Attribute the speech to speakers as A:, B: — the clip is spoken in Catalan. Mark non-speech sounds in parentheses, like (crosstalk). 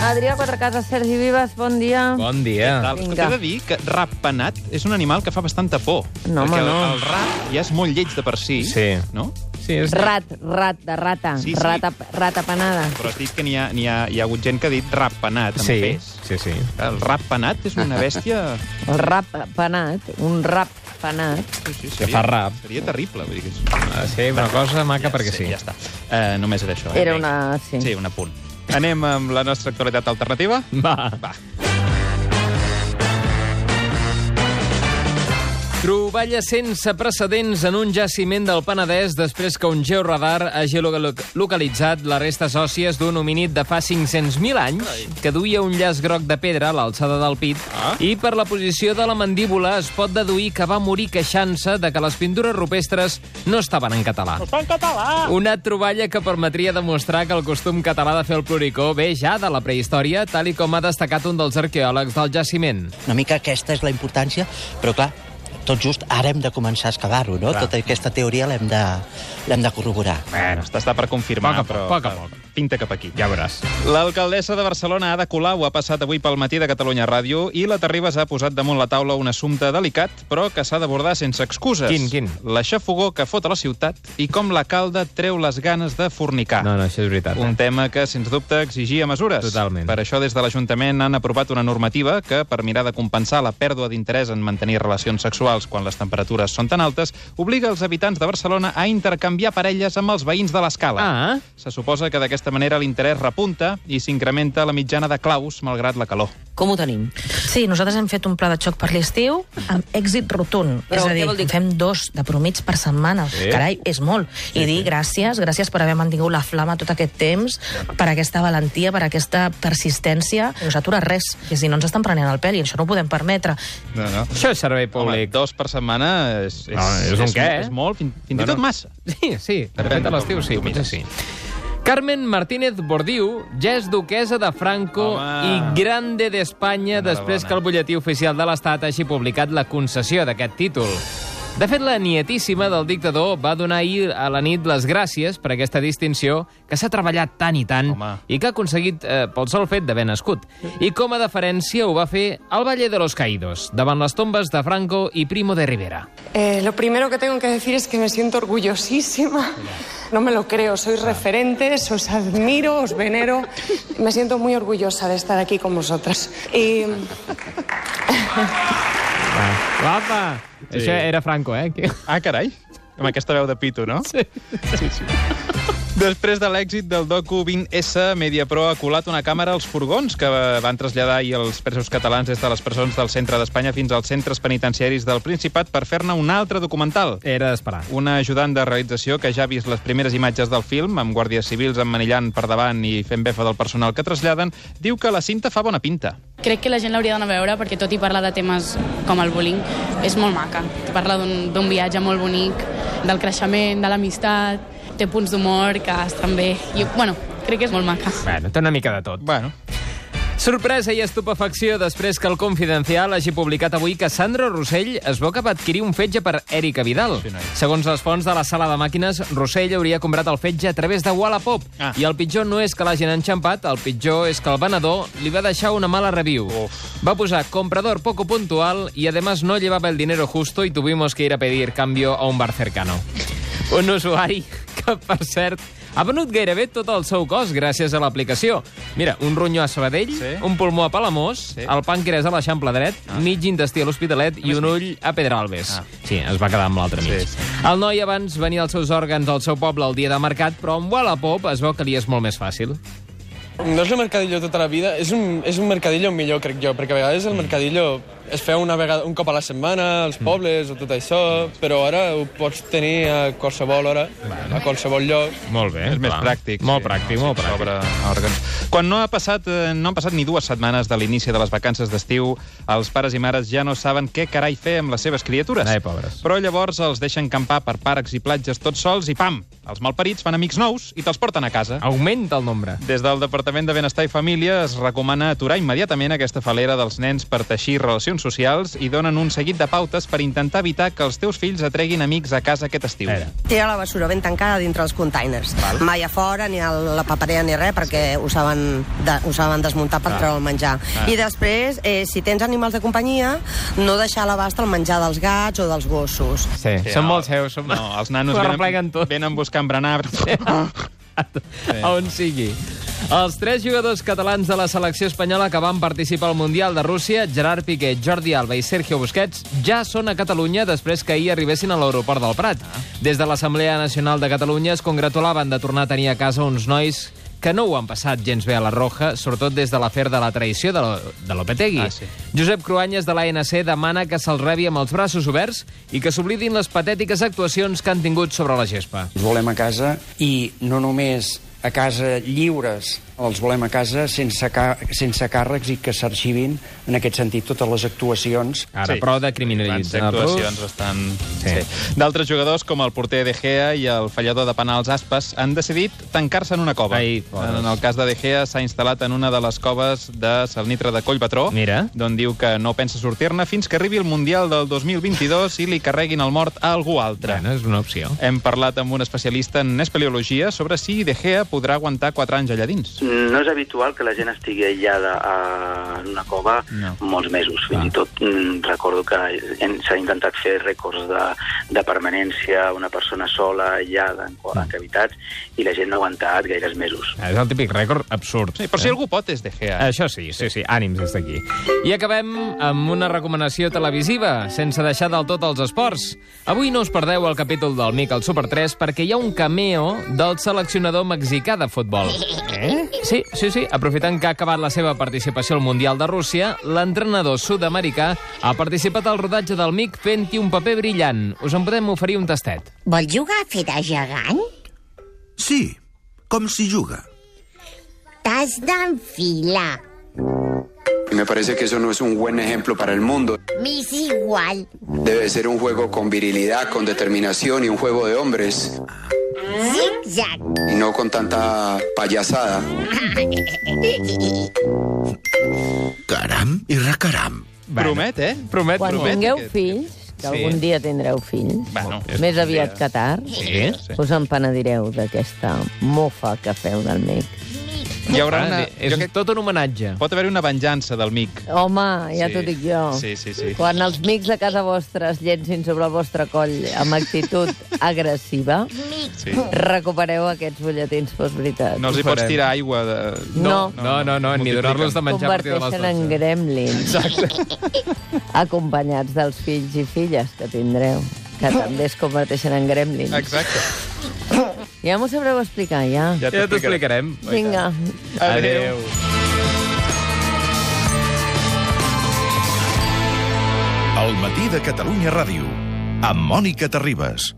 A: Adrià Quatrecases, Sergi Vives, bon dia.
B: Bon dia.
C: Tal.
A: Vinga.
C: Escolta, he de dir que rap penat és un animal que fa bastanta por.
A: No, home,
C: perquè el-
A: no.
C: el rap ja és molt lleig de per si,
B: Sí.
C: no?
B: Sí, és...
A: Rat, rat, de rata.
C: Sí, sí.
A: Rata, rata penada.
C: Però has dit que n'hi ha, n'hi ha, hi ha hagut gent que ha dit rap penat, amb
B: Sí,
C: pes.
B: sí, sí.
C: El rap penat és una bèstia...
A: El rap penat, un rap penat.
C: Sí, sí,
B: fa rap.
C: Seria terrible. Vull dir que és...
B: Ah, Sí, una cosa maca perquè sí.
C: Ja està. Uh, només era això.
A: Era
C: eh?
A: una... Sí.
C: Sí, un apunt. Anem amb la nostra actualitat alternativa?
B: Va.
C: Va.
B: Troballa sense precedents en un jaciment del Penedès després que un georadar hagi loca- localitzat les restes òssies d'un homínid de fa 500.000 anys que duia un llaç groc de pedra a l'alçada del pit
C: Ah.
B: i per la posició de la mandíbula es pot deduir que va morir queixant-se de que les pintures rupestres no estaven en català.
D: Està en català.
B: Una troballa que permetria demostrar que el costum català de fer el pluricó ve ja de la prehistòria, tal i com ha destacat un dels arqueòlegs del jaciment.
D: Una mica aquesta és la importància, però clar, tot just ara hem de començar a excavar-ho, no? Tota aquesta teoria l'hem de, l'hem de corroborar.
C: Bueno, està, està per confirmar,
B: Poc a poc,
C: però
B: poc a poc.
C: pinta cap aquí.
B: Ja veuràs.
C: L'alcaldessa de Barcelona, Ada Colau, ha passat avui pel matí de Catalunya Ràdio i la Terribas ha posat damunt la taula un assumpte delicat, però que s'ha d'abordar sense excuses.
B: Quin, quin?
C: La xafogó que fot a la ciutat i com la calda treu les ganes de fornicar.
B: No, no, això és veritat.
C: Ah. Un tema que, sens dubte, exigia mesures.
B: Totalment.
C: Per això, des de l'Ajuntament han aprovat una normativa que, per mirar de compensar la pèrdua d'interès en mantenir relacions sexuals quan les temperatures són tan altes, obliga els habitants de Barcelona a intercanviar parelles amb els veïns de l'escala.
B: Ah.
C: Se suposa que d'aquesta manera l'interès repunta i s'incrementa la mitjana de claus malgrat la calor.
A: Com ho tenim?
E: Sí, nosaltres hem fet un pla de xoc per l'estiu amb èxit rotund.
A: Però
E: és a
A: què
E: dir,
A: vol dir?
E: fem dos de promig per setmana. Sí. Carai, és molt. I dir gràcies, gràcies per haver mantingut la flama tot aquest temps, per aquesta valentia, per aquesta persistència. No s'atura res. És a dir, no ens estan prenent el pèl i això no ho podem permetre.
C: No, no.
B: Això és servei
C: Home,
B: públic.
C: dos per setmana és, és,
B: No, és un què, eh?
C: és molt, fins, fins
B: No,
C: i tot
B: no.
C: massa.
B: Sí, sí, de fet
C: Depèn de
B: a l'estiu
C: com
B: sí,
C: ho
B: potser sí.
C: mires.
B: Carmen Martínez Bordiu ja és duquesa de Franco
C: Home.
B: i grande d'Espanya
C: Enhorabona.
B: després que el butlletí oficial de l'Estat hagi publicat la concessió d'aquest títol. De fet, la nietíssima del dictador va donar ahir a la nit les gràcies per aquesta distinció que s'ha treballat tant i tant
C: Home.
B: i que ha aconseguit eh, pel sol fet d'haver nascut. I com a deferència ho va fer al Valle de los Caídos, davant les tombes de Franco i Primo de Rivera.
F: Eh, lo primero que tengo que decir es que me siento orgullosísima. No me lo creo, sois referentes, os admiro, os venero. Me siento muy orgullosa de estar aquí con vosotras. Y
B: Guapa! Sí. Això era Franco, eh? (laughs) Que-
C: Ah, carai! Amb aquesta veu de pito, no? Sí. sí, sí. Després de l'èxit del docu 20S, Mediapro ha colat una càmera als furgons que van traslladar ahir els presos catalans des de les presons del centre d'Espanya fins als centres penitenciaris del Principat per fer-ne un altre documental.
B: Era d'esperar.
C: Una ajudant de realització que ja ha vist les primeres imatges del film, amb guàrdies civils emmanillant per davant i fent befa del personal que traslladen, diu que la cinta fa bona pinta.
G: Crec que la gent l'hauria d'anar a veure perquè tot i parla de temes com el bullying, és molt maca. Parla d'un d'un viatge molt bonic, del creixement, de l'amistat, té punts d'humor que estan bé. I, bueno, crec que és molt maca.
B: Bueno, té una mica de tot.
C: Bueno,
B: Sorpresa i estupefacció després que el Confidencial hagi publicat avui que Sandra Rossell es veu que va adquirir un fetge per Erika Vidal. Segons les fonts de la sala de màquines, Rossell hauria comprat el fetge a través de Wallapop.
C: Ah.
B: I el pitjor no és que l'hagin enxampat, el pitjor és que el venedor li va deixar una mala review.
C: Uf.
B: Va posar comprador poco puntual y además no llevaba el dinero justo y tuvimos que ir a pedir cambio a un bar cercano. Un usuari que, per cert, ha venut gairebé tot el seu cos gràcies a l'aplicació. Mira, un ronyó a Sabadell,
C: Sí.
B: sí. un pulmó a Palamós,
C: Sí.
B: sí. el pàncreas a l'Eixample dret, ah. mig intestí a l'Hospitalet i un ull a Pedralbes.
C: Ah.
B: Ah. Sí, es va quedar amb l'altre mig.
C: Sí,
B: Sí, sí. El noi abans venia els seus òrgans al seu poble el dia de mercat, però amb Wallapop es veu que li és molt més fàcil.
H: No és el mercadillo tota la vida, és un, és un mercadillo millor, crec jo, perquè a vegades
I: Mm.
H: el mercadillo es feia una vegada, un cop a la setmana, als pobles o tot això, però ara ho pots tenir a qualsevol hora, a qualsevol lloc.
B: Molt bé.
C: És més pràctic.
B: Molt pràctic,
C: no,
B: molt
C: sí,
B: pràctic.
C: Sobre òrgans. Quan no, ha passat, eh, no han passat ni dues setmanes de l'inici de les vacances d'estiu, els pares i mares ja no saben què carai fer amb les seves criatures.
B: Ai, pobres.
C: Però llavors els deixen campar per parcs i platges tots sols i pam! Els malparits fan amics nous i te'ls porten a casa.
B: Augmenta el nombre.
C: Des del Departament de Benestar i Família es recomana aturar immediatament aquesta falera dels nens per teixir relacions relacions socials i donen un seguit de pautes per intentar evitar que els teus fills atreguin amics a casa aquest estiu.
B: Era.
J: Tira la bessura ben tancada dintre els containers. Val. Mai a fora, ni a la paperera, ni res, perquè ho saben, de, ho saben desmuntar per treure el menjar. I després, eh, si tens animals de companyia, no deixar a l'abast el menjar dels gats o dels gossos.
B: Sí, sí són
C: no,
B: molt seus. Són...
C: No, els nanos
B: Ho arrepleguen
C: venen,
B: tot.
C: venen buscant berenar.
B: a on sigui. Els tres jugadors catalans de la selecció espanyola que van participar al Mundial de Rússia, Gerard Piqué, Jordi Alba i Sergio Busquets, ja són a Catalunya després que ahir arribessin a l'aeroport del Prat.
C: Ah.
B: Des de l'Assemblea Nacional de Catalunya es congratulaven de tornar a tenir a casa uns nois que no ho han passat gens bé a la Roja, sobretot des de l'afer de la traïció de lo- de l'Opetegui.
C: Ah, sí.
B: Josep Cruanyes, de l'ANC, demana que se'l rebi amb els braços oberts i que s'oblidin les patètiques actuacions que han tingut sobre la gespa.
I: Els volem a casa i no només a casa lliures, els volem a casa sense, ca sense càrrecs i que s'arxivin en aquest sentit totes les actuacions.
B: Ara, sí. prou de criminalitzar-los.
C: actuacions bastant...
B: Sí.
C: Sí. sí. D'altres jugadors, com el porter De Gea i el fallador de penals Aspas, han decidit tancar-se en una cova.
B: Ai, pobres.
C: en el cas de De Gea, s'ha instal·lat en una de les coves de Salnitre de Collpatró,
B: Mira.
C: d'on diu que no pensa sortir-ne fins que arribi el Mundial del 2022 i li carreguin el mort a algú altre.
B: Bueno, és una opció.
C: Hem parlat amb un especialista en espeleologia sobre si De Gea podrà aguantar 4 anys allà dins.
K: No és habitual que la gent estigui aïllada a- en una cova
C: No.
K: no. molts mesos. Fins i tot mm, recordo que hem- s'ha intentat fer rècords de, de permanència, una persona sola, aïllada, en, co- en cavitats, i la gent no ha aguantat gaires mesos.
B: És el típic rècord absurd.
C: Sí, però si algú pot és De Gea. eh?
B: Això sí, sí, sí, ànims des d'aquí. I acabem amb una recomanació televisiva, sense deixar del tot els esports. Avui no us perdeu el capítol del Mic al Super 3 perquè hi ha un cameo del seleccionador mexicà de futbol. Eh? Sí, sí, sí. Aprofitant que ha acabat la seva participació al Mundial de Rússia, l'entrenador sud-americà ha participat al rodatge del Mic fent-hi un paper brillant. Us en podem oferir un tastet.
L: Vol jugar a fer de gegant?
I: Sí, com s'hi juga.
L: T'has d'enfilar.
I: Me parece que eso no es un buen ejemplo para el mundo.
L: M'és igual.
I: Debe ser un juego con virilidad, con determinación y un juego de hombres.
L: Zig-zag.
I: Y no con tanta payasada. Caram i recaram.
C: Promet, eh?
B: Promet,
A: Quan
C: promet.
A: tingueu
C: aquest-
A: fills, que
C: Sí.
A: algun dia tindreu fills,
C: Bueno,
A: més aviat que tard,
B: Sí?
A: us en penedireu d'aquesta mofa que feu del mic.
C: Hi haurà una...
B: És
C: Jo crec...
B: tot un homenatge.
C: Pot haver-hi una venjança del mic.
A: Home, ja
C: Sí.
A: t'ho dic jo.
C: Sí, sí, sí.
A: Quan els mics de casa vostra es llencin sobre el vostre coll amb
C: (laughs)
A: actitud agressiva,
C: Sí.
A: recupereu aquests butlletins, fos veritat.
C: No els hi pots
B: farem.
C: tirar aigua de...
A: No.
B: No, no, no, ni
C: Multipliquen.
B: donar-los de menjar a partir de les
A: Converteixen en gremlins.
B: 12.
A: (laughs) Acompanyats dels fills i filles que tindreu, que també es converteixen en gremlins.
C: Exacte.
A: Ja m'ho sabreu explicar, ja.
B: Ja t'ho explicarem.
A: Vinga.
C: Adéu.
I: El matí de Catalunya Ràdio amb Mònica Terribas.